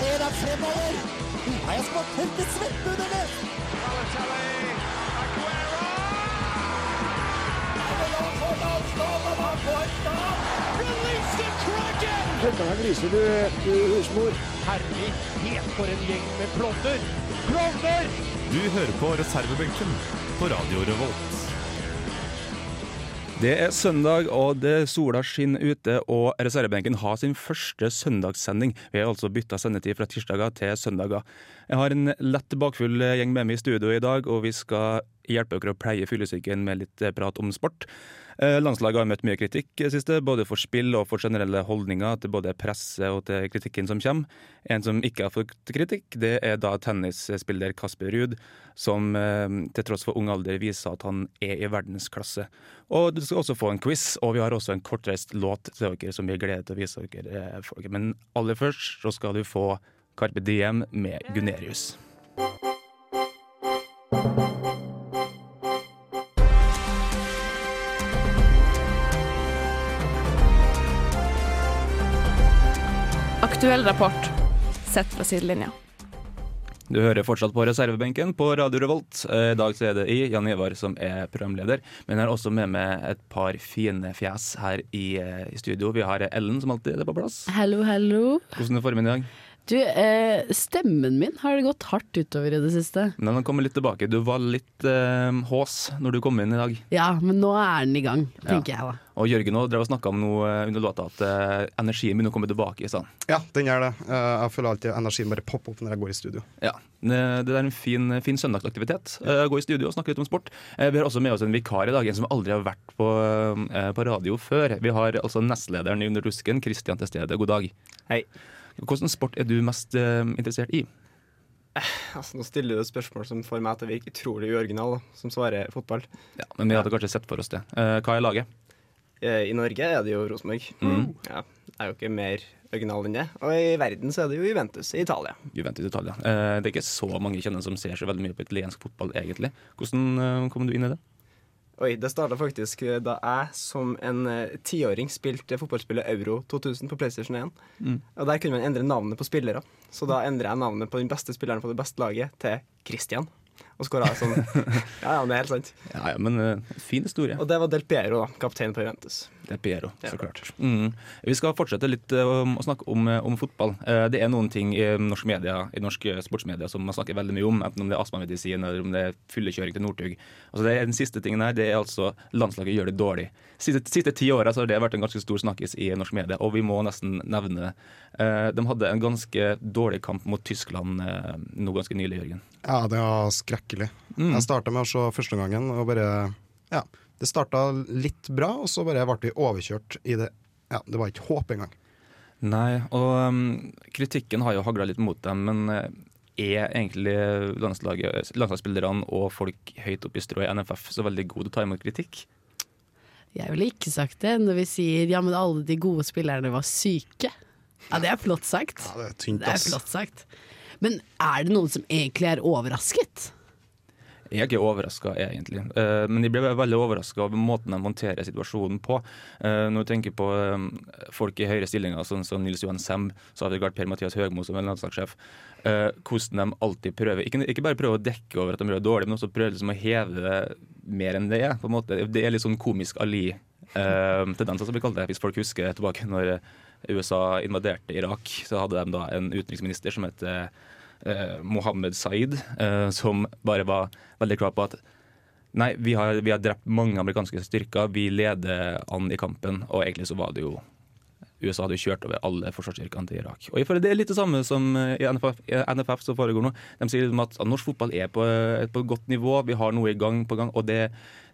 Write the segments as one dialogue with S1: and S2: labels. S1: fremover. Har jeg spart helt i svette under det?
S2: Balotelli, Aguero! Release the Kraken!
S3: Dette her gliser du, du husmor.
S2: Herlighet for en gjeng med klovner! Klovner!
S4: Du hører på reservebenken på Radio Revolt.
S5: Det er søndag, og det sola skinner ute, og reservebenken har sin første søndagssending. Vi har altså bytta sendetid fra tirsdager til søndager. Jeg har en lett bakfull gjeng med meg i studio i dag, og vi skal hjelpe dere å pleie fyllesyken med litt prat om sport. Eh, Landslaget har møtt mye kritikk i siste, både for spill og for generelle holdninger til både presse og til kritikken som kommer. En som ikke har fått kritikk, det er da tennisspiller Kasper Ruud, som eh, til tross for ung alder viser at han er i verdensklasse. Og du skal også få en quiz, og vi har også en kortreist låt til dere som vi gleder til å vise dere. eh, folk. Men aller først så skal du få Carpe Diem med Gunerius.
S6: Aktuell rapport sett fra sidelinja.
S5: Du hører fortsatt på reservebenken på Radio Revolt. Eh, I dag så er det jeg, Jan Ivar, som er programleder. Men jeg har også med meg et par fine fjes her i, eh, i studio. Vi har Ellen, som alltid er på plass.
S7: Hallo, hallo.
S5: Hvordan er formen i dag?
S7: Du, eh, stemmen min har det gått hardt utover i det siste.
S5: Men den kommer litt tilbake. Du var litt eh, hås når du kom inn i dag.
S7: Ja, men nå er den i gang, tenker jeg da.
S5: Og Jørgen også drev og snakka om noe eh, under låta, at eh, energien begynner å komme tilbake. i stedet.
S8: Ja, den gjør det. Eh, Jeg føler alltid energien bare popper opp når jeg går i studio.
S5: Ja, det det er en fin, fin søndagsaktivitet. Eh, Gå i studio og snakke litt om sport. Eh, Vi har også med oss en vikar i dag, en som aldri har vært på, eh, på radio før. Vi har altså nestlederen i Under rusken, Kristian til stede. God dag.
S9: Hei.
S5: Hvilken sport er du mest eh, interessert i?
S9: Altså, nå stiller du et spørsmål som får meg til å virke utrolig uoriginal, da, som svarer fotball.
S5: Ja, men vi hadde kanskje sett for oss det. Eh, Hva er laget?
S9: Eh, I Norge er det jo Rosenborg. Ja, det er jo ikke mer original enn det. Og i verden så er det jo Juventus i Italia.
S5: Juventus Italia. Eh, Det er ikke så mange jeg kjenner som ser så veldig mye på italiensk fotball, egentlig. Hvordan eh, kom du inn i det?
S9: Oi, det starta faktisk eh, da jeg som en eh, tiåring spilte fotballspillet Euro 2000 på PlayStation 1. Og der kunne man endre navnet på spillere. Så da endra jeg navnet på den beste spilleren på det beste laget til Christian. Og skåra sånn. Ja, ja, det er helt sant.
S5: Ja, ja, men eh, fin historie.
S9: Og det var Del Piero, da. Kaptein på Juventus.
S5: Det er Piero, så
S9: Ja.
S5: klart. Mm. Vi skal fortsette litt eh, om, å snakke om, eh, om fotball. Eh, Det er noen ting i norsk media, i norsk eh, sportsmedia som man snakker veldig mye om, enten om det er astmamedisin eller om det er fyllekjøring til Northug. Altså, det er den siste tingen her, det er altså landslaget gjør det dårlig. Siste, siste ti åra så har det vært en ganske stor snakkis i norsk media, og vi må nesten nevne det. Eh, De hadde en ganske dårlig kamp mot Tyskland eh, nå ganske nylig, Jørgen.
S8: Ja, det var skrekkelig.
S7: Mm.
S8: Jeg starta med å se første gangen, og bare Ja. Det starta litt bra, og så bare ble vi overkjørt i det Ja, det var ikke håp engang.
S5: Nei, og um, kritikken har jo hagla litt mot dem, men eh, er egentlig landslaget- landslagsspillerne og folk høyt oppe i strået i NFF så veldig gode til å ta imot kritikk?
S7: Jeg ville ikke sagt det når vi sier ja, men alle de gode spillerne var syke. Ja, det er flott sagt.
S8: Ja, det er tynt,
S7: Det er
S8: ass.
S7: flott sagt. Men er det noen som egentlig er overrasket?
S5: Jeg er ikke overraska, egentlig. Eh, men de ble veldig overraska over måten de håndterer situasjonen på. Eh, når du tenker på eh, folk i høyere stillinger, sånn som Nils Johan Sem, så har vi klart Per-Mathias Høgmo som er landslagssjef, eh, hvordan de alltid prøver ikke, ikke bare prøver å dekke over at de gjør det dårlig, men også prøver liksom å heve det mer enn det er. på en måte. Det er litt sånn komisk eh, Ali-tendens, sånn som vi kaller det, hvis folk husker tilbake når eh, USA invaderte Irak, så hadde de da en utenriksminister som het eh, eh, Mohammed Saeed, eh, som bare var veldig klar på at nei, vi har, vi har drept mange amerikanske styrker, vi leder an i kampen, og egentlig så var det jo USA hadde jo kjørt over alle forsvarsstyrkene til Irak. Og jeg føler Det er litt det samme som eh, i NFF, i NFF som foregår nå. De sier liksom at norsk fotball er på, eh, på et godt nivå, vi har noe i gang på gang. Og det,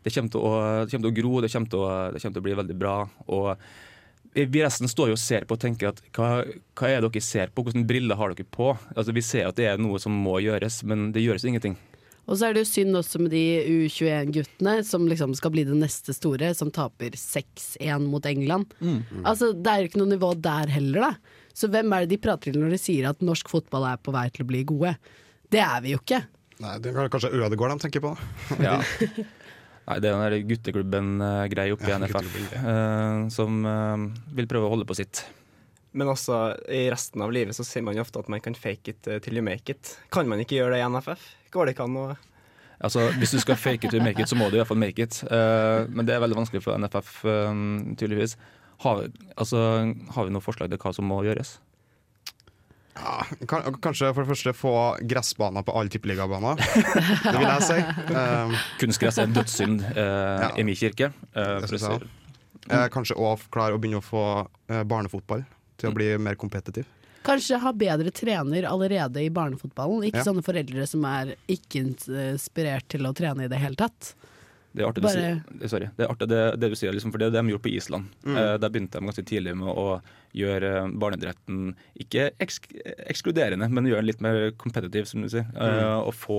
S5: det, kommer, til å, det kommer til å gro, det kommer til å, det kommer til å bli veldig bra. Og Eh, vi resten står jo og ser på og tenker at hva, hva er det dere ser på, hvilke briller har dere på? Altså Vi ser at det er noe som må gjøres, men det gjøres ingenting.
S7: Og så er det jo synd også med de U21-guttene som liksom skal bli det neste store, som taper 6-1 mot England.
S5: Mm.
S7: Altså, Det er jo ikke noe nivå der heller, da. Så hvem er det de prater til når de sier at norsk fotball er på vei til å bli gode? Det er vi jo ikke.
S8: Nei, det er kanskje Ødegård de tenker på.
S5: Ja. Nei, det er den der eh, gutteklubben-greia oppe i NFF eh, som eh, vil prøve å holde på sitt.
S9: Men også i resten av livet så sier man jo ofte at man kan fake it eh, till you make it. Kan man ikke gjøre det i NFF? Går det ikke an å
S5: Altså, Hvis du skal fake it to make it, så må du i hvert fall make it. Eh, men det er veldig vanskelig for NFF, eh, tydeligvis. Har, altså, har vi noe forslag til hva som må gjøres?
S8: Kan, kanskje for det første få gressbaner på alle tippeligabaner. Det vil jeg si. Um,
S5: Kunstgress er en dødssynd eh, i min kirke. eh,
S8: det
S5: for å
S8: synes
S5: si.
S8: jeg. også. Eh, kanskje òg klare å begynne å få eh, barnefotball til å bli mer kompetitiv.
S7: Kanskje ha bedre trener allerede i barnefotballen. Ikke
S8: Ja.
S7: sånne foreldre som er ikke inspirert til å trene i det hele tatt.
S5: Det er artig
S7: Bare-
S5: du sier, sorry. Det er artig det, det du sier, liksom, for det har de gjort på Island. Eh, der begynte de ganske tidlig med å gjøre eh, barneidretten ikke eksk ekskluderende, men gjøre den litt mer kompetitiv, som du sier. Eh, og få,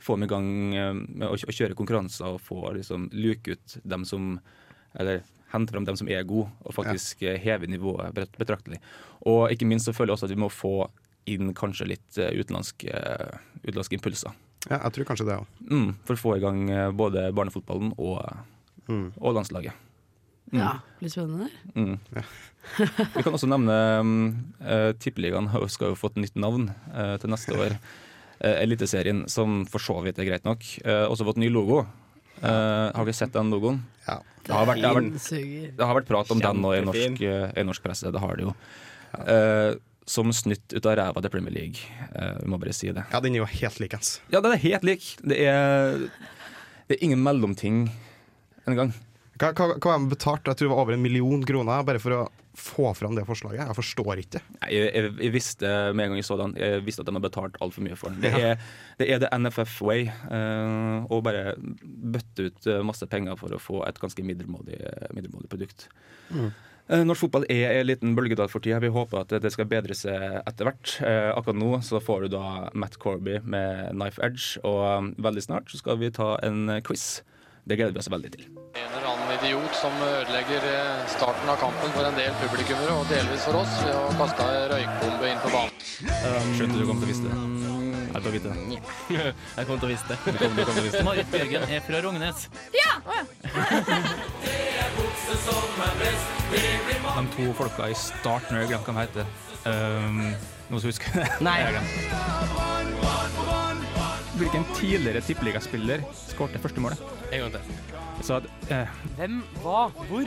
S5: få dem i gang eh, med å, å kjøre konkurranser og få liksom, luke ut dem som Eller hente fram dem som er gode, og faktisk eh, heve nivået bet- betraktelig. Og ikke minst så føler jeg også at vi må få inn kanskje litt eh, utenlandske, utenlandske impulser.
S8: Ja, jeg tror kanskje det òg.
S5: Mm, for å få i gang eh, både barnefotballen og, og landslaget.
S7: Ja, blir spennende. der.
S5: Mm. Vi kan også nevne uh, Tippeligaen har jo- skal jo få et nytt navn eh, til neste år. Eh, Eliteserien, som for så vidt er greit nok. Uh, også fått ny logo. Eh, har dere sett den logoen?
S8: Ja.
S5: Det har vært, det har vært,
S7: Suger.
S5: det har vært prat om den nå i norsk,
S9: Kjempefin.
S5: eh, i norsk presse, det har det jo. Eh, som snytt ut av ræva til Premier League. Eh, vi må bare si det.
S8: Ja, den er jo helt likens.
S5: Ja, den er helt lik. Det er, det er ingen mellomting engang.
S8: Hva, hva, hva har de betalt? Jeg tror det var over en million kroner bare for å få fram det forslaget. Jeg forstår ikke.
S5: Nei, Jeg, jeg, jeg visste med en gang jeg så den, jeg visste at de har betalt altfor mye for den. Det er det, er the NFF way eh, å bare bøtte ut eh, masse penger for å få et ganske middelmådig, middelmådig produkt. Eh, Norsk fotball er en liten bølgedal for tida. Vi håper at det skal bedre seg etter hvert. Eh, akkurat nå så får du da Matt Corby med Knife Edge, og eh, veldig snart så skal vi ta en eh, quiz. Det gleder vi oss veldig til.
S10: En eller annen idiot som ødelegger eh, starten av kampen for en del publikummere, og delvis for oss, ved å kaste ei røykbombe inn på banen.
S5: Skjønte du kom til å vite det. Um, Jeg kom til å vite det.
S11: Jeg kommer til å vise det. Du kommer til å vise det. Marit Bjørgen er fra Rognes.
S5: De to folka i starten, jeg glemte hva de heter. Um, noen som husker det?
S11: Nei.
S5: Jeg har glemt. Hvilken tidligere tippeligaspiller skåret første målet?
S11: En gang til.
S5: Jeg sa at eh,
S11: Hvem, hva, hvor?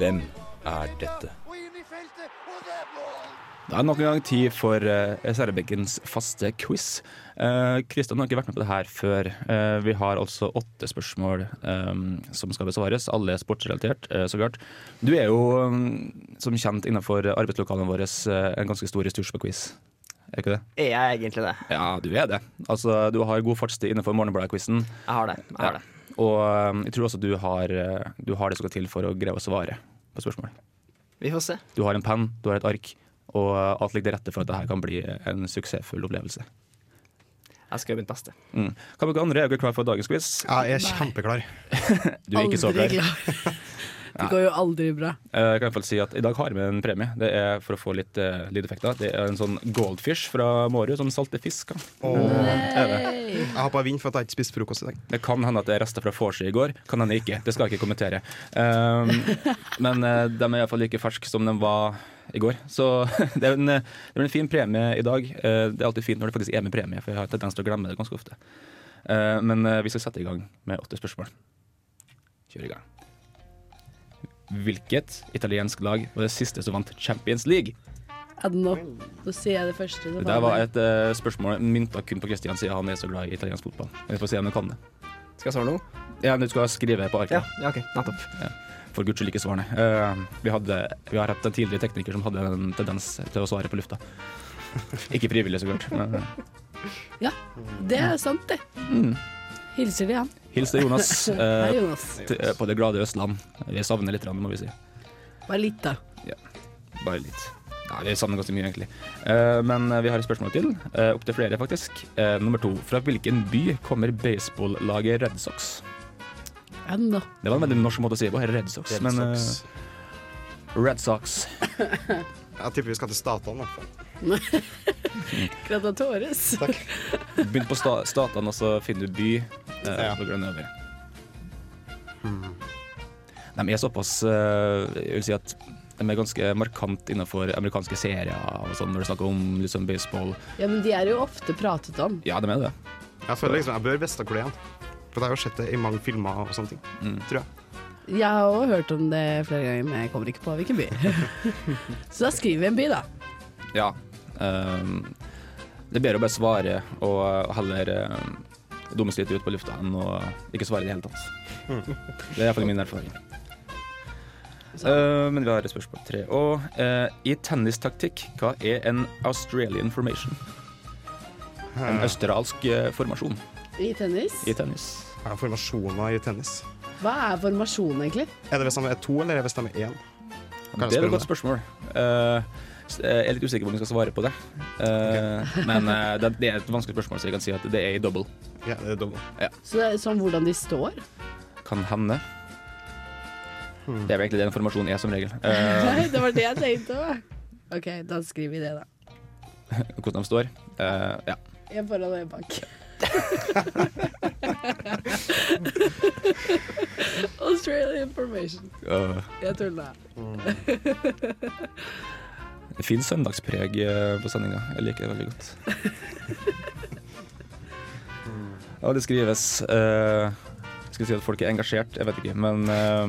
S12: Hvem er dette?
S5: Det er nok en gang tid for uh, Særebekkens faste quiz. Eh, Kristian har ikke vært med på det her før. Eh, vi har altså åtte spørsmål eh, som skal besvares. Alle er sportsrelatert, eh, så klart. Du er jo, eh, som kjent innenfor arbeidslokalene våre, eh, en ganske stor ressurs på quiz. Er ikke det?
S9: Er jeg egentlig det?
S5: Ja, du er det. Altså, du har god fartstid innenfor Morgenbladet-quizen.
S9: Jeg har det. Jeg har det.
S5: Og um, jeg tror også du har, uh, du har det som skal til for å greie å svare på spørsmål.
S9: Vi får se.
S5: Du har en penn, du har et ark, og uh, alt ligger til rette for at det her kan bli en suksessfull opplevelse.
S9: Jeg skal gjøre mitt beste.
S5: Mm. Kan dere andre, er dere klar for dagens quiz?
S8: Jeg er kjempeklar.
S5: Du er ikke så
S7: Aldri
S5: klar.
S7: Det går jo aldri bra.
S5: Eh, Jeg kan i hvert fall si at I dag har vi en premie. Det er for å få litt uh, lydeffekter. Det er en sånn goldfish fra Mårud som salter fisk. da.
S8: Jeg håper jeg vinner for at jeg ikke spiste frokost i dag.
S5: Det kan hende at det er rester fra vorset i går, kan hende ikke. Det skal jeg ikke kommentere. Um, men eh, de er iallfall like ferske som de var i går. Så det er en, eh, det blir en fin premie i dag. Eh, det er alltid fint når det faktisk er med premie, for jeg har tendens til å glemme det ganske ofte. Eh, men eh, vi skal sette i gang med åtte spørsmål. Kjør i gang. Hvilket italiensk lag var det siste som vant Champions League?
S7: Er det nå? Nå sier jeg det første.
S5: Det der var et eh, spørsmål mynta kun på Kristian, siden han er så glad i italiensk fotball. Vi får se om han kan det.
S9: Skal jeg svare nå?
S5: Ja, men Du skal skrive på arket.
S9: Ja, ja ok. Nettopp.
S5: For guds skyld ikke svarene. Eh, vi, hadde, vi har hatt en tidligere tekniker som hadde en tendens til å svare på lufta. Ikke frivillig, så klart. Men, eh,
S7: Det er sant, det.
S5: Mm.
S7: Hilser de han.
S5: hils til Jonas, eh,
S7: Hei, Jonas.
S5: t- eh, på det glade Østland. Vi savner litt, grann, må vi si.
S7: Bare litt, da.
S5: Bare litt. Nei, vi savner ganske mye, egentlig. Eh, men eh, vi har et spørsmål til. Uh, Opptil flere, faktisk. Eh, nummer to. Fra hvilken by kommer baseballaget Red Sox?
S7: Er det nå?
S5: Det var en veldig norsk måte å si det på. Red Sox.
S8: Red
S5: men, eh,
S8: Sox.
S5: Red Sox.
S8: Jeg tipper vi skal til Statoil. da.
S7: Gratatoris.
S5: Begynn på sta statene, og så finner du by. Eh,
S8: Ja.
S5: på grunn av det. De er såpass eh, Jeg vil si at de er ganske markant innenfor amerikanske serier og sånn, når du snakker om liksom, baseball.
S7: Ja, men de er jo ofte pratet om.
S5: Ja, de er det.
S8: Jeg føler liksom jeg bør vite hvor det er. For jeg har jo sett det i mange filmer og sånne ting.
S7: Mm.
S8: Tror jeg.
S7: Jeg har også hørt om det flere ganger, men jeg kommer ikke på hvilken by. Så da skriver vi en by, da.
S5: Ja. ehm, det er bedre å bare svare og heller um, dumme seg litt ut på lufta enn å ikke svare i det hele tatt.
S8: Mm.
S5: Det er iallfall min erfaring. Eh, men vi har et spørsmål tre. Og eh, i tennistaktikk, hva er en Australian formation? En australsk eh, formasjon
S7: I tennis.
S5: i tennis.
S8: Er det formasjoner i tennis?
S7: Hva er formasjon, egentlig?
S8: Er det hvis de er to, eller er det hvis de er én? Kan jeg
S5: det er
S8: spørre
S5: et
S8: om
S5: godt spørsmål. Eh, s- jeg er litt usikker på om jeg skal svare på det. Eh, Men eh, det, det er et vanskelig spørsmål, så jeg kan si at det er i double.
S8: Ja, det er double.
S5: Ja.
S7: Så det er sånn hvordan de står?
S5: Kan hende. Det er vel egentlig det informasjonen er, som regel. Eh,
S7: Nei, det var det jeg tenkte òg. OK, da skriver vi det, da.
S5: hvordan de står. Eh, ja.
S7: En foran og en bak. Australian information.
S5: Eh,
S7: Jeg tulla.
S5: det fins søndagspreg eh, på sendinga. Jeg liker det veldig godt. Og det skrives eh, Jeg skal si at folk er engasjert, jeg vet ikke, men eh,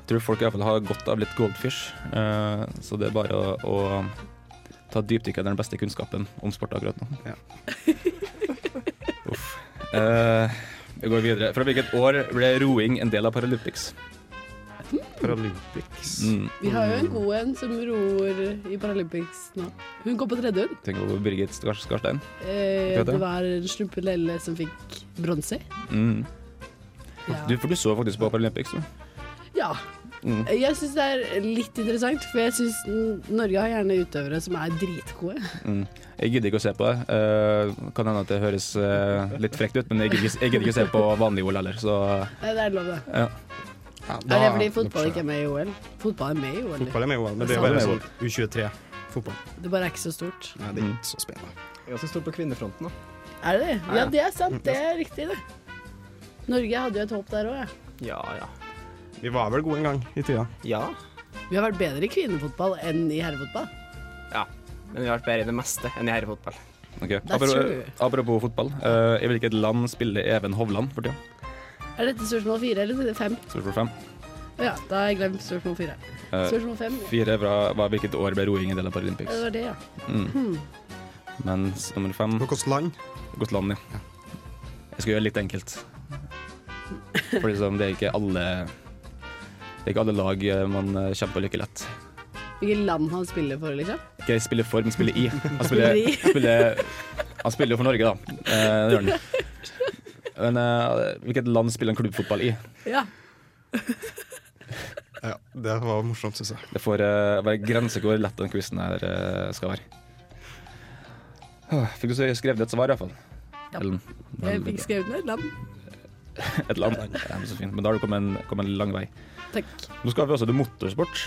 S5: jeg tror folk i hvert fall har godt av litt goldfish, eh, så det er bare å, å ta dypdykk etter den beste kunnskapen om sport akkurat nå. Uff. Eh, vi går videre. Fra hvilket år ble roing en del av Paralympics?
S8: Paralympics
S5: Mm.
S7: Vi har jo en god en som ror i Paralympics nå. Hun går på tredje, hun.
S5: Tenker på Birgit Skar- Skarstein.
S7: Eh,
S5: Hva heter
S7: det
S5: det?
S7: var en slumpe lelle som fikk bronse.
S5: Mm.
S7: Ja.
S5: Du, for du så faktisk på Paralympics, du.
S7: ja.
S5: Mm.
S7: Jeg syns det er litt interessant, for jeg syns Norge har gjerne utøvere som er dritgode.
S5: Mm. Jeg gidder ikke å se på det. Eh, kan hende at det høres eh, litt frekt ut, men jeg gidder ikke, jeg gidder ikke å se på vanlig OL heller, så
S7: Nei, det er lov, det.
S5: ja.
S7: Da, er det fordi fotball ikke er med i OL? Fotball er med i OL.
S8: Fotball er med i OL, men det er jo
S7: Fotball er
S8: bare
S7: med i
S8: sånn U23-fotball.
S7: Det bare er ikke så stort.
S8: Nei, det er ikke så spennende.
S9: Ganske stort på kvinnefronten, da.
S7: Er det det?
S9: Ja,
S7: Ja,
S9: ja.
S7: det er sant. Det
S5: Mm,
S7: er riktig, det. Norge hadde jo et håp der òg, jeg.
S9: Ja, ja.
S8: Vi var vel gode en gang i tida.
S9: Ja.
S7: Vi har vært bedre i kvinnefotball enn i herrefotball.
S9: ja. Men vi har vært bedre i det meste enn i herrefotball.
S5: Ok.
S7: That's true.
S5: Apropos, apropos fotball. eh, I hvilket land spiller Even Hovland for tida?
S7: Er dette spørsmål fire eller fem?
S5: Spørsmål fem.
S7: Ja, da har jeg glemt spørsmål fire.
S5: Eh,
S7: Spørsmål fem. ja.
S5: Fire fra var hvilket år ble roing en del av
S7: Ja, Det
S5: Paralympics.
S7: var det, ja.
S5: Mm.
S7: Hmm.
S5: Mens nummer fem
S7: Mm.
S8: Hvilket land?
S5: Godt land, ja. Jeg skal gjøre det litt enkelt. For liksom, det er ikke alle Det er ikke alle lag eh, man eh, kjemper like lett.
S7: Hvilket land han spiller for, liksom?
S5: Ikke spiller for, men spiller i. Han spiller,
S7: Spiller i.
S5: spiller, han spiller jo for Norge, da. Eh, det gjør han. Men eh, hvilket land spiller han klubbfotball i?
S7: Ja.
S8: Ja, det var morsomt, syns jeg.
S5: Det får eh, være grenser hvor lett den quizen her eh, skal være. Åh, Fikk du så skrevet et svar, iallfall?
S7: Ja.
S5: Ellen.
S7: Jeg fikk skrevet ned land.
S5: Et land. Ja, men så fint. Men da har du kommet en, kommet en lang vei.
S7: Takk.
S5: Nå skal vi også til motorsport.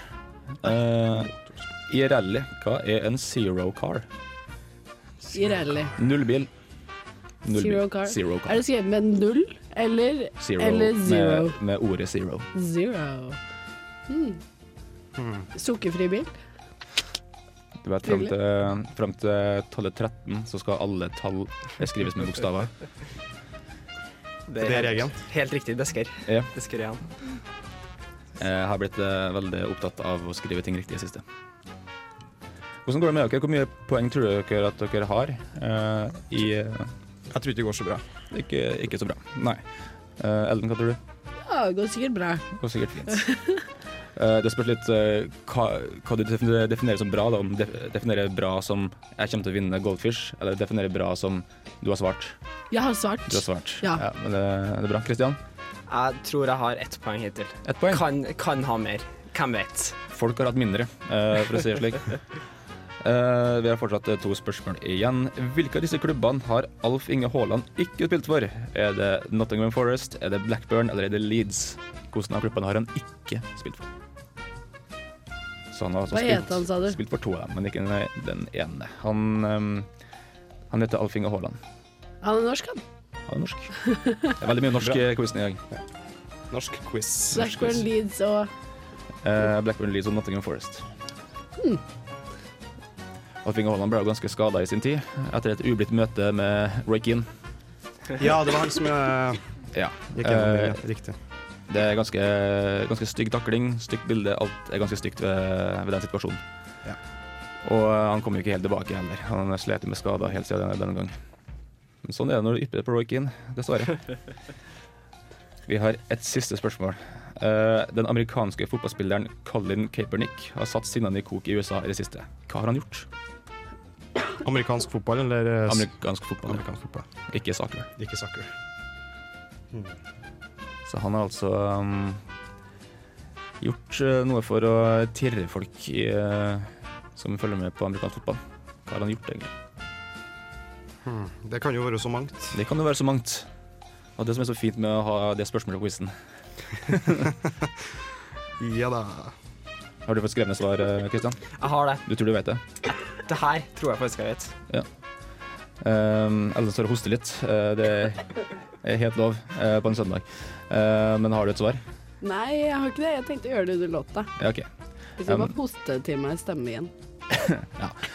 S5: Eh, I rally, hva er en zero car?
S7: I rally.
S5: Null bil. Null
S7: Zero
S5: bil.
S7: car.
S5: Zero
S7: Er det skrevet med null eller
S5: Zero,
S7: eller zero?
S5: Med, med ordet zero.
S7: Zero. Hmm.
S5: Hmm.
S7: Sukkerfri bil?
S5: Du vet, fram til, frem til tallet 13 så skal alle tall skrives med bokstaver.
S8: Det er regelen.
S9: Helt riktig. Desker.
S5: Ja.
S9: Desker er han.
S5: Jeg har blitt eh, veldig opptatt av å skrive ting riktig i det siste. Hvordan går det med dere? Hvor mye poeng tror dere at dere har? eh, i, eh,
S8: Jeg tror ikke det går så bra.
S5: ikke, ikke så bra. Nei. Eh, Ellen, hva tror du?
S7: Ja, det går sikkert bra.
S5: Det går sikkert fint. Eh, Det spørs litt eh, hva, hva du defin- definerer som bra. Da. Om du definerer bra som 'jeg kommer til å vinne Goldfish', eller definerer bra som 'du har svart'.
S7: Jeg har svart.
S5: Du har svart.
S7: Ja.
S5: men det, det er bra. Kristian,
S9: Jeg tror jeg har ett poeng hittil.
S5: ett poeng.
S9: Kan, kan ha mer. Hvem vet?
S5: Folk har hatt mindre, eh, for å si det slik. Eh, vi har fortsatt eh, to spørsmål igjen. Hvilke av disse klubbene har Alf Inge Haaland ikke spilt for? Er det Nottingham Forest, er det Blackburn eller er det Leeds? Hvordan av klubbene har han ikke spilt for? Så han har altså
S7: Hva
S5: spilt,
S7: het han, sa du?
S5: spilt for to av dem, men ikke den- e- den ene. Han, ehm, han heter Alf Inge Haaland.
S7: Han er norsk, han.
S5: Han er norsk. eh, Det er veldig mye norsk i quizen i dag.
S8: Norsk quiz.
S7: Blackburn Leeds og
S5: Eh, Blackburn Leeds og Nottingham Forest.
S7: Hmm.
S5: Og Finge Haaland ble jo ganske skada i sin tid, etter et ublidt møte med Roy Keane.
S8: Ja, det var han som eh,
S5: Ja.
S8: gikk gjennom
S5: Eh,
S8: det. ja, Riktig.
S5: Det er ganske, ganske stygg takling, stygt bilde. Alt er ganske stygt ved, ved den situasjonen.
S8: Ja.
S5: Og eh, han kom jo ikke helt tilbake heller. Han slet jo med skader helt siden den- den gang. Men sånn er det når du ypper på Roy Keane, dessverre. Vi har et siste spørsmål. Eh, den amerikanske fotballspilleren Colin Kaepernick har satt sinnene i kok i USA i det siste. Hva har han gjort?
S8: Amerikansk fotball, eller eh, s-
S5: Amerikansk fotball.
S8: Amerikansk fotball.
S5: Ikke soccer.
S8: Ikke soccer.
S5: Så han har altså um, gjort eh, noe for å tirre folk i, eh, som følger med på amerikansk fotball. Hva har han gjort, egentlig?
S8: Hmm. Det kan jo være så mangt.
S5: Det kan jo være så mangt. Og det som er så fint med å ha det spørsmålet på quizen.
S8: Ja da.
S5: Har du fått skrevne svar, eh, Kristian?
S9: Jeg har det.
S5: Du tror du vet det?
S9: Det her tror jeg faktisk jeg vet.
S5: Ja. Um, Ellen står og hoster litt. Eh, det er helt lov eh, på en søndag. Eh, men har du et svar?
S7: Nei, jeg har ikke det. Jeg tenkte å gjøre det under låta.
S5: Ja, OK.
S7: Hvis jeg
S5: Um,
S7: bare hoste til meg stemme igjen.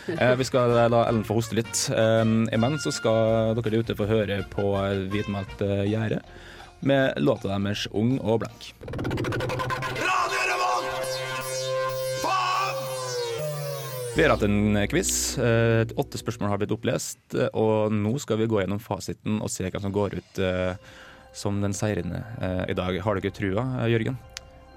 S5: Eh, vi skal la Ellen få hoste litt. Um, imens så skal dere der ute få høre på Hvitmalt eh, gjerde med låta deres Ung og blank. Vi har hatt en quiz. Eh, åtte spørsmål har blitt opplest. eh, Og nå skal vi gå gjennom fasiten og se hvem som går ut eh, som den seirende eh, i dag. Har dere trua, eh, Jørgen?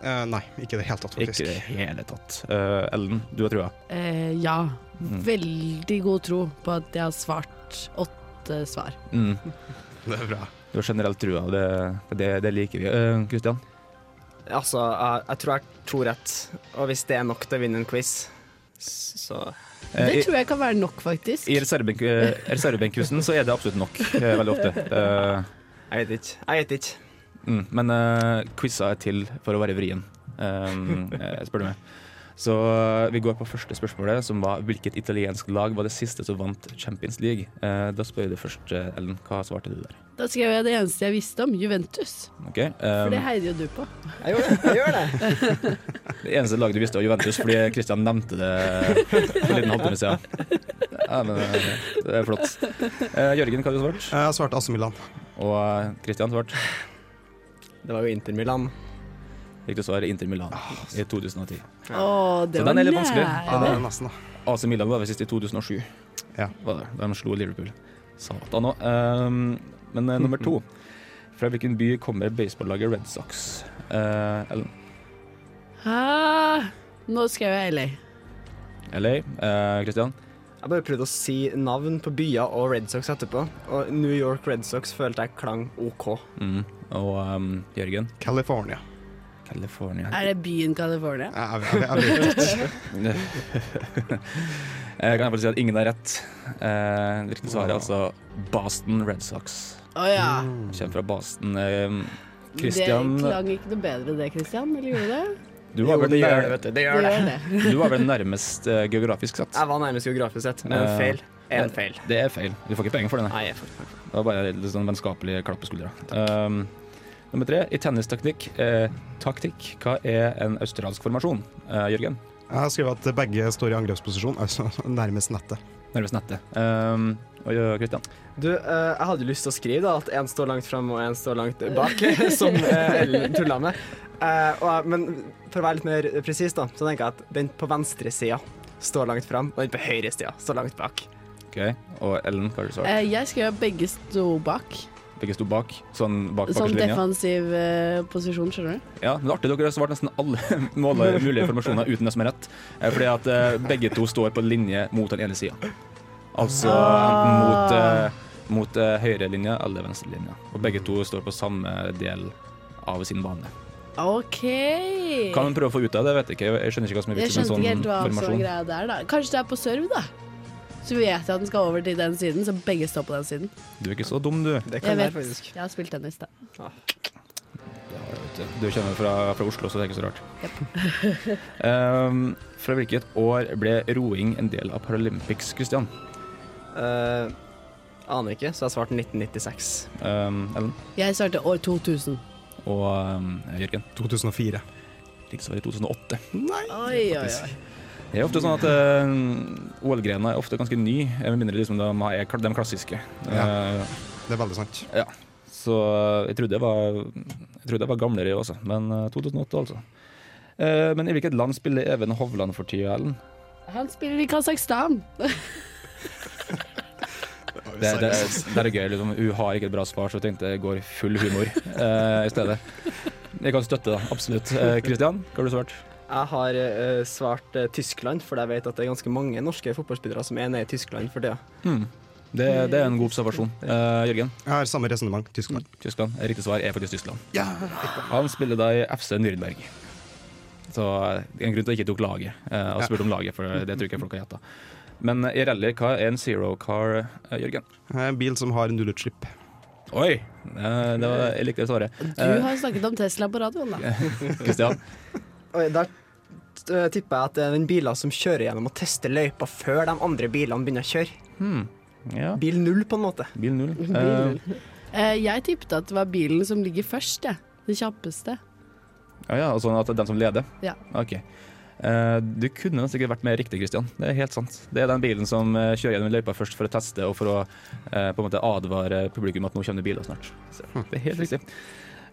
S8: Eh, nei, ikke i det hele tatt, faktisk.
S5: Ikke i det hele tatt. Eh, Ellen, du har trua.
S7: Eh, ja.
S5: Mm.
S7: Veldig god tro på at jeg har svart åtte svar.
S5: Mm.
S8: Det er bra.
S5: Du har generelt trua, og det, det, det liker vi. Eh, Kristian?
S9: Altså, jeg, jeg tror jeg har to rett. Og hvis det er nok til å vinne en quiz, s- så
S5: Eh,
S7: Det tror jeg kan være nok, faktisk.
S5: I reservebenk- eh, reservebenkquizen så er det absolutt nok, eh, veldig ofte. Eh,
S9: Jeg vet ikke. Jeg vet ikke.
S5: mm, men uh, quiza er til for å være vrien, um, eh, spør du meg. Så eh, vi går på første spørsmålet, som var hvilket italiensk lag var det siste som vant Champions League? Eh, da spør jeg deg først, eh, Ellen, hva svarte du der?
S7: Da skrev jeg det eneste jeg visste om, Juventus.
S5: Ok,
S7: For
S5: um,
S7: det heier jo du på.
S9: Jeg gjør det. Jeg gjør det.
S5: Det eneste laget du visste var Juventus, fordi Christian nevnte det for en liten halvtime siden. Ja, men eh, det er flott. Eh, Jørgen, hva har du svart?
S8: Jeg har svart AC Milan.
S5: Og eh, Christian svart?
S9: det var jo Inter Milan.
S5: Riktig svar Inter Milan i 2010.
S7: Å, det
S5: Så
S7: var
S5: den er litt vanskelig.
S8: Ja, det er
S7: nære.
S8: Eh, nesten, da.
S5: AC Milan var visst i 2007.
S8: Ja.
S5: Var det. De slo Liverpool. Satan òg. men eh, nummer to. Fra hvilken by kommer baseballaget Red Sox? Eh, Ellen.
S7: Hæ? Nå skrev jeg LA.
S5: LA. Eh, Christian.
S9: Jeg bare prøvde å si navn på byer og Red Sox etterpå. Og New York Red Sox følte jeg klang OK.
S5: Mm. Og ehm, Jørgen.
S8: California.
S5: California.
S7: Er det byen California?
S8: Jeg, jeg, jeg, jeg vet ikke.
S5: Jeg Eh, kan iallfall si at ingen har rett. Eh, det riktige svaret er altså Boston Red Sox.
S7: Å ja.
S8: Hmm.
S5: Kjent fra Boston. Eh, Christian,
S7: Det klang ikke noe bedre det, Christian? Eller gjorde det?
S5: du var, vel nær,
S9: vet du. Det
S7: Det gjør det.
S5: du var vel nærmest eh, geografisk sett.
S9: Jeg var nærmest geografisk sett, men
S5: Ja.
S9: en feil.
S5: Men-
S9: En feil.
S5: Det er feil. Du får ikke penger for det. nei.
S9: Nei, jeg får
S5: Det
S9: ikke
S5: var bare litt sånn vennskapelig klapp på skuldra. Um, nummer tre, i tennistaktikk eh, Taktikk, hva er en australsk formasjon? Eh, Jørgen?
S8: Jeg har skrevet at begge står i angrepsposisjon, altså nærmest nettet.
S5: Nærmest nettet. Um, og ja, Kristian?
S9: Du, eh, jeg hadde lyst til å skrive da, at én står langt frem og én står langt bak, som eh, Ellen tulla med. Eh, og, jeg- men for å være litt mer presis, da, så tenker jeg at den på venstre sida står langt frem, og den på høyre sida står langt bak.
S5: Ok, Og Ellen, hva har du svart?
S7: Eh, Jeg skrev at begge sto bak.
S5: Begge sto bak, sånn bak
S7: Sånn
S5: bakerste linja.
S7: defensiv eh, posisjon, skjønner du.
S5: Ja, men det er artig, dere har svart nesten alle måle- mulige formasjoner uten det som er rett. Eh, Fordi at eh, begge to står på linje mot den ene sida. Altså enten mot, eh, mot eh, høyrelinja eller venstrelinja. Og begge to står på samme del av sin bane.
S7: OK.
S5: Kan man prøve å få ut av det? Jeg vet ikke. Jeg skjønner ikke hva som er
S7: Jeg
S5: vitsen med
S7: skjønte ikke
S5: en sånn
S7: helt hva som var
S5: formasjon.
S7: greia der, da. Kanskje det er på serve, da. Så vet jeg at den skal over til den siden, så begge står på den siden.
S5: Du er ikke så dum, du.
S9: Det
S7: Jeg
S9: kan
S7: vet.
S9: være faktisk.
S7: Jeg har spilt tennis, da.
S5: Du kommer fra, fra Oslo, så det er ikke så rart. Ehm, fra hvilket år ble roing en del av Paralympics, Christian?
S9: Eh, aner ikke, så jeg svarte 1996.
S5: Ehm, Ellen
S7: Jeg svarte år 2000.
S5: og ehm, Jørgen.
S8: 2004.
S5: krigsåret 2008.
S7: Oi, oi, oi.
S5: Det er ofte sånn at eh, OL-grena er ofte ganske ny, eh, med mindre liksom de er kla- de klassiske.
S8: Ja,
S5: det er veldig sant. Ja. Så eh, jeg trodde jeg var, jeg trodde jeg var gamlere, jeg også, men eh, 2008, altså. Eh, men i hvilket land spiller Even Hovland for tida, Ellen?
S7: Han spiller i Kasakhstan.
S5: Det, det, det er gøy. Liksom. Hun har ikke et bra svar, så jeg tenkte jeg går full humor eh, i stedet. Jeg kan støtte, da. Absolutt. Kristian, hva har du svart?
S9: Jeg har eh, svart eh, Tyskland, for jeg vet at det er ganske mange norske fotballspillere som er nede i Tyskland for tida.
S5: Hmm. Det, det er en god observasjon. Eh, Jørgen?
S8: Jeg har samme resonnement. Tyskland.
S5: Tyskland. Riktig svar er faktisk Tyskland.
S8: Ja.
S5: Han spiller da i FC Nürnberg. Så det er en grunn til at jeg ikke tok laget. Eh, og spurte om laget, for det tror jeg ikke folk har gjetta. Men i rally, hva er en zero car, eh, Jørgen?
S8: En bil som har nullutslipp.
S5: Oi! eh, det var, jeg likte det svaret.
S7: Du har snakket om Tesla på radioen, da.
S5: Kristian?
S9: Oi, der t- eh, tipper jeg at det er den biler som kjører gjennom og tester løypa før de andre bilene begynner å kjøre. Bil null, på en måte.
S5: Bil null.
S7: null. Eh, jeg tippet at det var bilen som ligger først, jeg. Den kjappeste.
S5: Ja, ja, og sånn at det er den som leder?
S7: Ja.
S5: Ok. Eh, du kunne sikkert vært mer riktig, Christian. Det er helt sant. Det er den bilen som eh, kjører gjennom løypa først for å teste og for å eh, på en måte advare publikum at nå kommer det biler snart. Så
S8: Hm.
S5: det er helt riktig.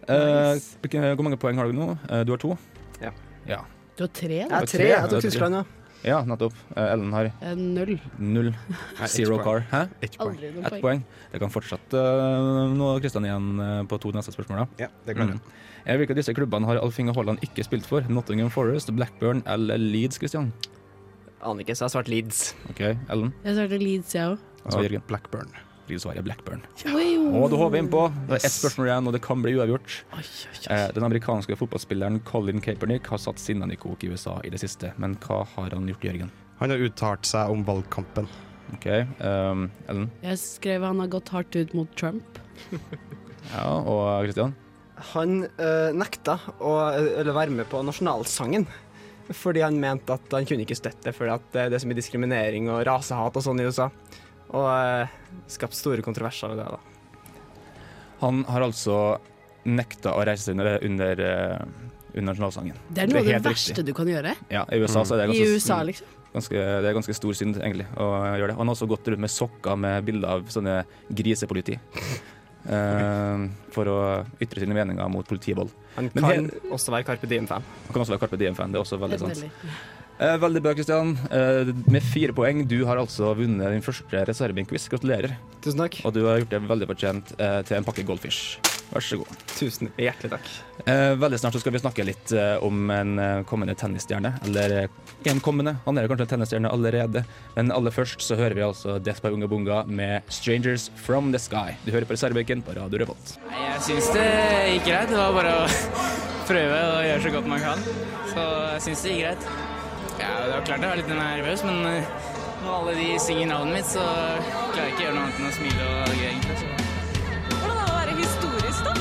S5: Eh, hvilke- Hvor mange poeng har du nå? Eh, du har to?
S9: Ja.
S5: ja.
S7: Du har tre,
S9: Jeg har tre. Jeg
S5: Du har
S9: tok
S5: tre.
S9: Tyskland, ja.
S5: Ja, nettopp. Eh, Ellen har
S7: Eh, Null.
S5: null.
S8: Eh, ett
S5: Zero
S8: poeng.
S5: car. Hæ?
S8: Ett poeng.
S7: Aldri noen
S5: Ett
S7: poeng.
S5: poeng. Det kan fortsette eh, nå, Kristian, igjen eh, på to neste spørsmål. Da.
S8: Ja, det klarer jeg.
S5: Eh, Hvilke av disse klubbene har Alf Inge Haaland ikke spilt for? Nottingham Forest, Blackburn eller Leeds, Kristian?
S9: Aner ikke, så jeg har svart Leeds.
S5: OK, Ellen
S7: Jeg svarte Leeds, jeg òg.
S5: og Jørgen.
S8: Blackburn.
S5: Riktig svar er Blackburn.
S7: Wow.
S5: Og da håver vi innpå. Det er ett spørsmål igjen, og det kan bli uavgjort. Eh, Den amerikanske fotballspilleren Colin Kaepernick har satt sinnene i kok i USA i det siste, men hva har han gjort, Jørgen?
S8: Han har uttalt seg om valgkampen.
S5: OK, ehm, Ellen
S7: Jeg skrev han har gått hardt ut mot Trump.
S5: ja, og Christian?
S9: Han eh, nekta å eller være med på nasjonalsangen. Fordi han mente at han kunne ikke støtte fordi at eh, det er det som er diskriminering og rasehat og sånn i USA. Og uh, skapt store kontroverser ved det. da.
S5: Han har altså nekta å reise seg under, under, eh, under nasjonalsangen.
S7: Det er noe av det
S5: helt
S7: verste
S5: riktig.
S7: du kan gjøre.
S5: Ja, I USA så er det
S7: I
S5: ganske, mm,
S7: USA, liksom.
S5: ganske, det er ganske stor synd, egentlig, å gjøre det. Han har også gått rundt med sokker med bilder av sånne grisepoliti. eh, for å ytre sine meninger mot politivold.
S9: Han
S5: Men
S9: kan
S5: helt-
S9: også være Carpe Diem-fan.
S5: Han kan også være Carpe Diem-fan, det er også veldig
S7: Helt
S5: sant.
S7: veldig.
S5: Eh, veldig bra, Kristian. Eh, med fire poeng. Du har altså vunnet din første reservebenkquiz. Gratulerer.
S9: Tusen takk.
S5: Og du har gjort det veldig fortjent eh, til en pakke Goldfish. Vær så god.
S9: Tusen hjertelig takk.
S5: Eh, veldig snart så skal vi snakke litt eh, om en eh, kommende tennisstjerne. Eller eh, en kommende. Han er jo kanskje en tennisstjerne allerede. Men aller først så hører vi altså Death by Unga Bunga med 'Strangers From The Sky'. Du hører på reservebenken på Radio Revolt.
S13: Nei, Jeg syns det gikk greit. Det var bare å prøve og gjøre så godt man kan. Så jeg syns det gikk greit. Ja, det var klart jeg var litt nervøs, men eh, når alle de synger navnet mitt, så klarer jeg ikke å gjøre noe annet enn å smile og gøy, egentlig. Så.
S14: Hvordan er det å være historisk, da?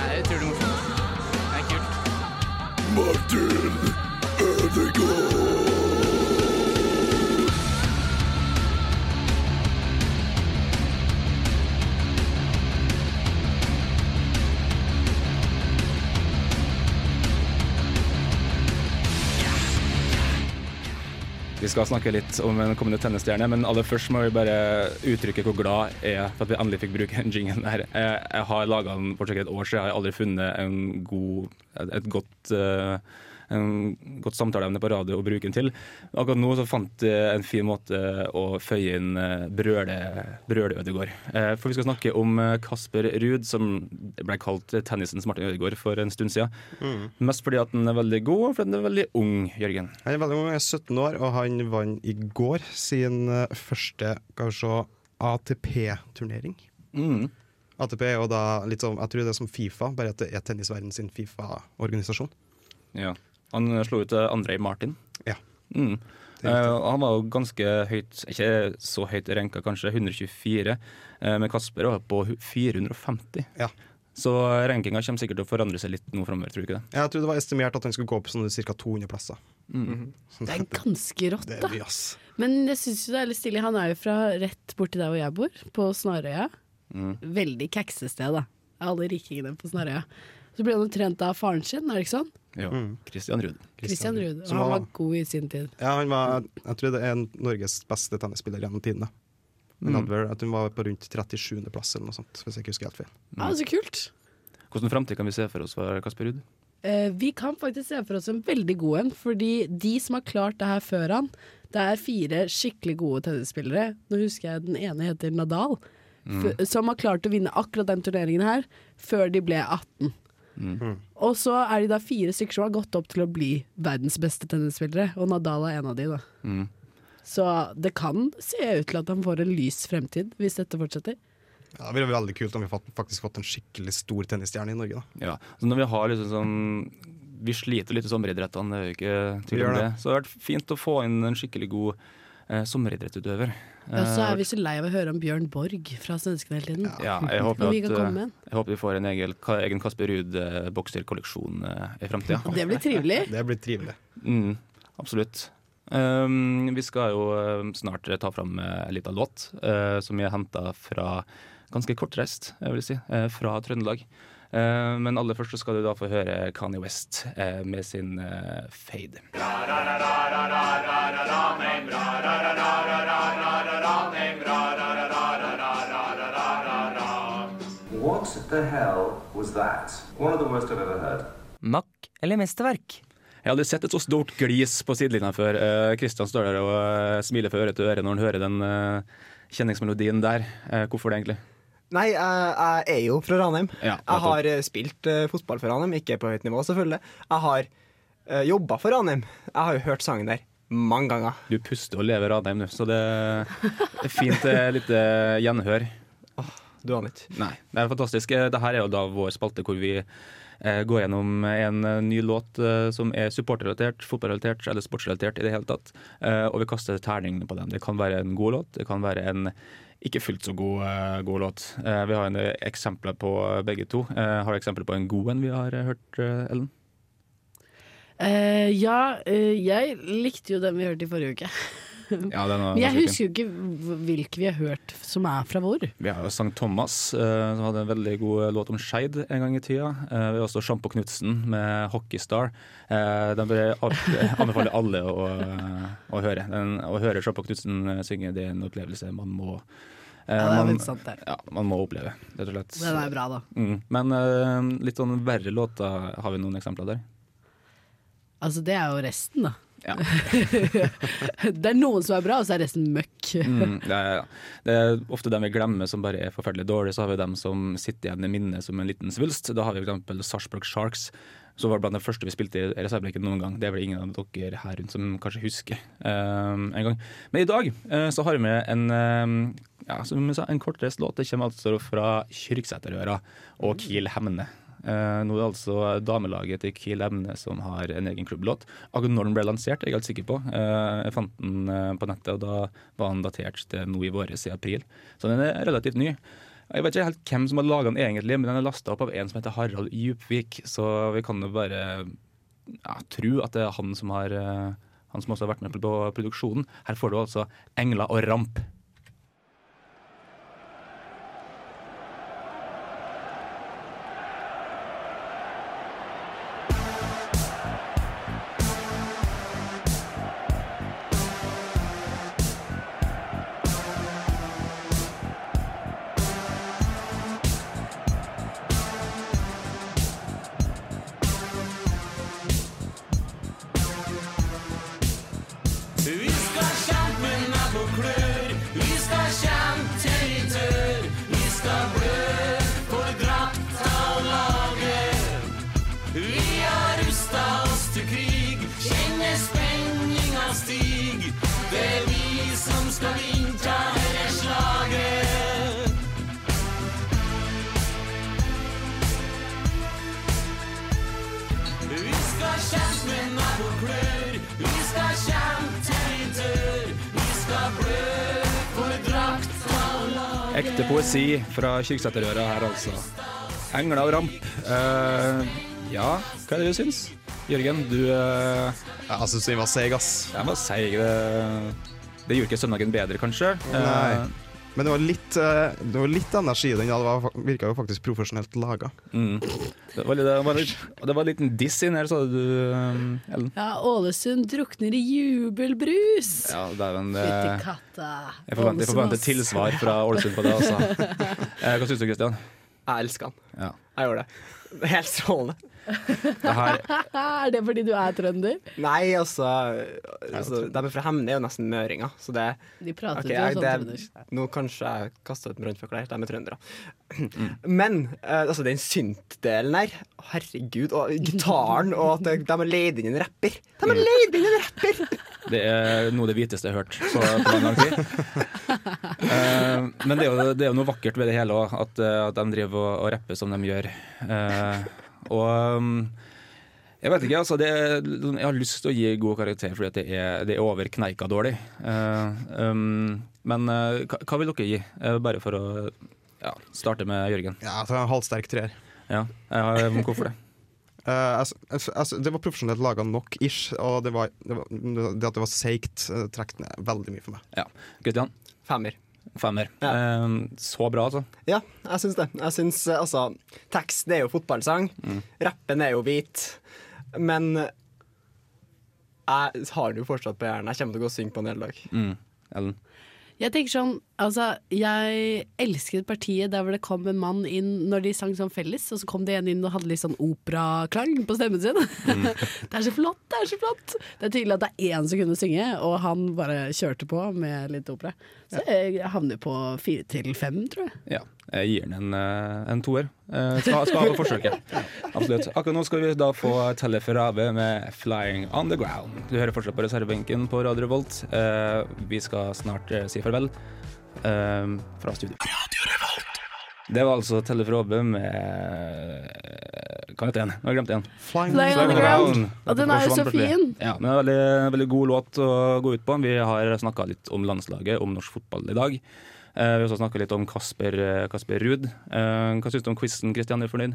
S13: Nei, det er utrolig morsomt. Det er kult.
S14: Martin
S5: Vi skal snakke litt om en kommende tennisstjerne, men aller først må vi bare uttrykke hvor glad jeg er for at vi endelig fikk bruke den jingen her. Jeg, jeg har laga den for sikkert et år siden, jeg har aldri funnet en god, et, et godt eh, en godt samtaleevne på radio å bruke den til. Akkurat nå så fant jeg en fin måte å føye inn eh, brøle, brøle Ødegaard. Eh, For vi skal snakke om eh, Kasper Ruud, som ble kalt tennisens Martin Ødegaard for en stund siden.
S8: Mm.
S5: Mest fordi at han er veldig god, og fordi han er veldig ung, Jørgen.
S8: Han er veldig ung, han er 17 år, og han vant i går sin eh, første kanskje ATP-turnering. ATP er jo da litt sånn, jeg tror det er som Fifa, bare at det er tennisverdenen sin Fifa-organisasjon.
S5: Ja. Han slo ut eh, Andrej Martin.
S8: Ja.
S5: Mm. Eh, og han var jo ganske høyt, ikke så høyt renka kanskje, 124, eh, men Kasper var på hu- 450. Så rankinga kommer sikkert til å forandre seg litt nå framover, tror du ikke det?
S8: Jeg tror det var estimert at han skulle gå opp sånn ca. 200 plasser.
S5: Mhm.
S8: Så
S7: Det er ganske rått,
S8: det
S7: da.
S8: er mye, ass.
S7: Men jeg syns jo det er litt stilig. Han er jo fra rett borti der hvor jeg bor, på Snarøya. Veldig kæksested, da. Alle rikingene på Snarøya. Så ble han jo trent av faren sin, er det ikke sånn?
S5: Ja. Mm. Christian Ruud.
S7: Christian Ruud. og
S8: Som
S7: Han
S8: var-
S7: var god i sin tid.
S8: Ja, han var, jeg tror det er Norges beste tennisspiller gjennom tidene. Men
S5: Mm.
S8: hadde vel at hun var på rundt 37.-plass eller noe sånt, hvis jeg ikke husker helt feil.
S7: Ja, så kult.
S5: Hvordan framtid kan vi se for oss for Kasper Ruud?
S7: Eh, vi kan faktisk se for oss en veldig god en, fordi de som har klart det her før han, det er fire skikkelig gode tennisspillere. Nå husker jeg den ene heter Nadal,
S5: Mm.
S7: f- som har klart å vinne akkurat den turneringen her før de ble 18.
S5: Mm.
S7: Og så er de da fire stykker som har gått opp til å bli verdens beste tennisspillere, og Nadal er en av de, da.
S5: Mm.
S7: Så det kan se ut til at han får en lys fremtid hvis dette fortsetter.
S8: Ja, det ville vært veldig kult om vi fått- faktisk fått en skikkelig stor tennisstjerne i Norge, da.
S5: Ja, så når vi har liksom sånn Vi sliter litt i sommeridrettene, det er jo ikke tvil
S8: Vi gjør
S5: om det.
S8: det.
S5: Så det har vært fint å få inn en skikkelig god eh, sommeridrettsutøver.
S7: Ja, så
S5: Eh,
S7: er vi så lei av å høre om Bjørn Borg fra svenskene hele tiden.
S5: ja, jeg håper
S7: Men vi
S5: at
S7: kan komme med
S5: eh,
S7: en.
S5: jeg håper vi får en egen, ka- egen Kasper Ruud-bokserkolleksjon eh, i framtida.
S7: Det blir trivelig.
S8: Det blir trivelig.
S5: Mm, absolutt. Ehm, vi skal jo eh, snart ta fram eh, en liten låt eh, som vi har henta fra ganske kortreist, jeg vil si, eh, fra Trøndelag. Eh, men aller først så skal du da få høre Kanye West eh, med sin eh, Fade.
S15: What the hell was that? One of the worst I've ever heard.
S5: Mack eller mesterverk? Jeg hadde sett et så stort glis på sidelinja før. Kristian står der og eh, smiler fra øre til øre når han hører den eh, kjenningsmelodien der. Eh, hvorfor det, egentlig?
S9: Nei, jeg, jeg er jo fra Ranheim.
S5: Ja,
S9: jeg har eh, spilt eh, fotball for Ranheim, ikke på høyt nivå, selvfølgelig. Jeg har uh, jobba for Ranheim. Jeg har jo hørt sangen der mange ganger.
S5: Du puster og lever Radheim nå, så det er fint eh, lite gjenhør.
S9: Du aner ikke.
S5: Nei, det er fantastisk. Eh, Dette er jo da vår spalte hvor vi eh, går gjennom en eh, ny låt eh, som er supporterrelatert, fotballrelatert eller sportsrelatert i det hele tatt. Eh, og vi kaster terning på den. Det kan være en god låt, det kan være en ikke fullt så god, eh, god låt. Eh, vi har en eh, eksempler på begge to. Eh, har du eksempler på en god en vi har eh, hørt, eh, Ellen?
S7: Eh, ja, eh, jeg likte jo den vi hørte i forrige uke.
S5: Ja, den var-
S7: Men jeg
S5: var så fin.
S7: husker jo ikke hv- hvilke vi har hørt som er fra hvor.
S5: Vi har jo Sankt Thomas, eh, som hadde en veldig god låt om Skeid en gang i tida. Eh, vi har også Sjampo Knutsen med Hockeystar. Eh, den bør jeg al- anbefale alle å, eh, å høre. Den, å høre Sjampo Knutsen eh, synge, det er en opplevelse man må eh,
S7: Ja, det er
S5: man-
S7: litt sant der.
S5: Ja, man må oppleve, rett og slett.
S7: Den er bra, da.
S5: Mm. Men eh, litt sånn verre låter, har vi noen eksempler der?
S7: Altså, det er jo resten, da.
S5: Ja.
S7: det er noen som er bra, og så er resten møkk.
S5: Mm, ja, ja, ja. Det er ofte dem vi glemmer som bare er forferdelig dårlige. Så har vi dem som sitter igjen i minnet som en liten svulst. Da har vi f.eks. Sarpsborg Sharks, som var blant de første vi spilte i reserveleken noen gang. Det er vel ingen av dere her rundt som kanskje husker ehm, en gang. Men i dag eh, så har vi med en ehm, ja, som jeg sa, en kortreist låt. Det kommer altså fra Kyrksæterøra og Kiel Hemne. Eh, nå er det altså damelaget til Kiel Emne som har en egen klubblåt. Akkurat når den ble lansert, er jeg helt sikker på. Eh, jeg fant den eh, på nettet, og da var den datert til nå i våres, i april. Så den er relativt ny. Jeg vet ikke helt hvem som har laga den egentlig, men den er lasta opp av en som heter Harald Djupvik, så vi kan jo bare ja, tro at det er han som har eh, han som også har vært med på produksjonen. Her får du altså 'Engler og ramp'.
S14: Vi skal kjempe med nebb og klør. Vi skal kjempe til vi tør. Vi skal blø for drakta og laget. Vi har rusta oss til krig. Kjenner spenninga stig. Det er vi som skal innta dette slaget. Vi skal kjempe med nebb og klør. Vi skal kjempe til vi dør. Vi skal blø for drakta og lag.
S5: Ekte poesi fra Kyrksæterøra her, altså. Engler og ramp. Eh, ja, hva er det du syns? Jørgen, du eh,
S8: Jeg syns den altså, var seig, ass.
S5: Den var seig. Det, det gjorde ikke søndagen bedre, kanskje. Eh,
S8: Nei. Men det var litt, eh, det var litt energi i den. ja, Det var- virka jo faktisk profesjonelt laga.
S5: Mm. Det var, litt- det, var litt, det var en liten diss inn her, sa du, um, Ellen.
S7: Ja, Ålesund drukner i jubelbrus!
S5: Ja, dæven. det- eh,
S7: Fytti katta.
S5: Jeg forventer, jeg forventer
S7: Ålesund,
S5: tilsvar fra Ålesund på det, altså. Eh, Hva syns du, Kristian?
S9: Jeg elsker han.
S5: Ja.
S9: Jeg gjør det. Helt strålende.
S7: ass. er det fordi du er trønder?
S9: Nei, altså, altså De er fra Hemne, er jo nesten møringer, så det
S7: De prater
S9: Ok,
S7: jo
S9: jeg-
S7: sånn
S9: det- Nå kanskje jeg kaster ut med brannfakler, de er trøndere. Men eh, altså, den synt-delen her, herregud, og gitaren, og at de de har leid inn en rapper. De har leid inn en rapper!
S5: Det er noe av det hviteste jeg har hørt på, på lang, lang tid. Eh, men det er, jo, det er jo noe vakkert ved det hele òg, at, eh, at de driver og, og rapper som de gjør. Eh, og um, jeg vet ikke, altså. Det er, jeg har lyst til å gi god karakter fordi at det er, det er over kneika dårlig. Eh, um, men eh, hva, hva vil dere gi? Eh, bare for å ja, starte med Jørgen.
S8: Ja, det er en halvsterk treer.
S5: Ja, eh, Hvorfor det?
S8: Eh, altså, altså, det var profesjonelt laga nok, ish. Og det, var, det, var, det at det var seigt, eh, trakk ned veldig mye for meg.
S5: Ja. Kristian?
S9: Femmer.
S5: Femmer. Eh, så bra, altså.
S9: Ja, jeg syns det. Jeg syns eh, altså Teksten er jo fotballsang, rappen er jo hvit, men eh, jeg har den jo fortsatt på hjernen. Jeg kommer til å gå og synge på den hele dag.
S5: Mm. Ellen?
S7: Jeg tenker sånn, altså Jeg elsket partiet der hvor det kom en mann inn når de sang sånn felles, og så kom det en inn og hadde litt sånn operaklang på stemmen sin. det er så flott, det er så flott! Det er tydelig at det er én som kunne synge, og han bare kjørte på med litt opera. Så jeg havner på fire til fem, tror jeg.
S5: Ja, jeg gir den en, eh, en toer. Eh, Skal, skal ha på forsøket. Absolutt. Akkurat nå skal vi da få Teleferabe med 'Flying On The Ground'. Du hører fortsatt på reservebenken på Radio Revolt. Eh, Vi skal snart eh, si farvel eh, fra studio. Det var altså Teleferabe med eh, Hva heter den? Nå har jeg glemt den.
S8: Flying,
S7: Flying on the ground. Og den er jo så
S5: Forsvant plutselig.
S7: fin.
S5: Ja, men det er en veldig, veldig god låt å gå ut på. Vi har snakka litt om landslaget, om norsk fotball i dag. Eh, vi har også snakka litt om Kasper, eh, Kasper Ruud. Eh, hva syns du om quizen, Kristian? Er du fornøyd?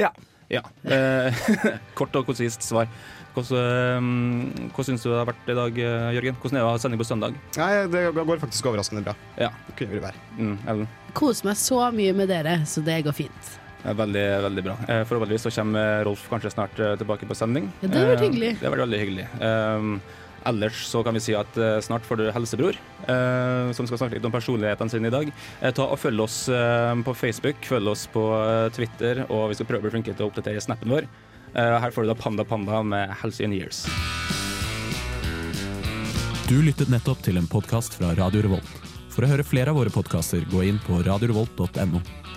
S9: Ja.
S5: Ja. Eh, kort og konsist svar. Hvordan, eh, hvordan syns du det har vært i dag, eh, Jørgen? Hvordan er det å ha sending på søndag?
S8: Nei, det går faktisk overraskende bra.
S5: Ja.
S8: Det kunne vel være.
S5: Mm, Ellen?
S7: Koser meg så mye med dere, så det går fint.
S5: Det er Veldig, veldig bra. Eh, Forhåpentligvis så kommer Rolf kanskje snart eh, tilbake på sending.
S7: Ja, det hadde
S5: Eh,
S7: vært hyggelig.
S5: Det hadde vært veldig hyggelig. Eh, Ellers så kan vi si at eh, snart får du helsebror, eh, som skal snakke litt om personlighetene sine i dag. Eh, Ta og Følg oss eh, på Facebook, følg oss på eh, Twitter, og vi skal prøve å bli flinke til å oppdatere snappen vår. Eh, Her får du da Panda Panda med Helse in Years.
S16: Du lyttet nettopp til en podkast fra Radio Revolt. For å høre flere av våre podkaster, gå inn på radiorevolt.no.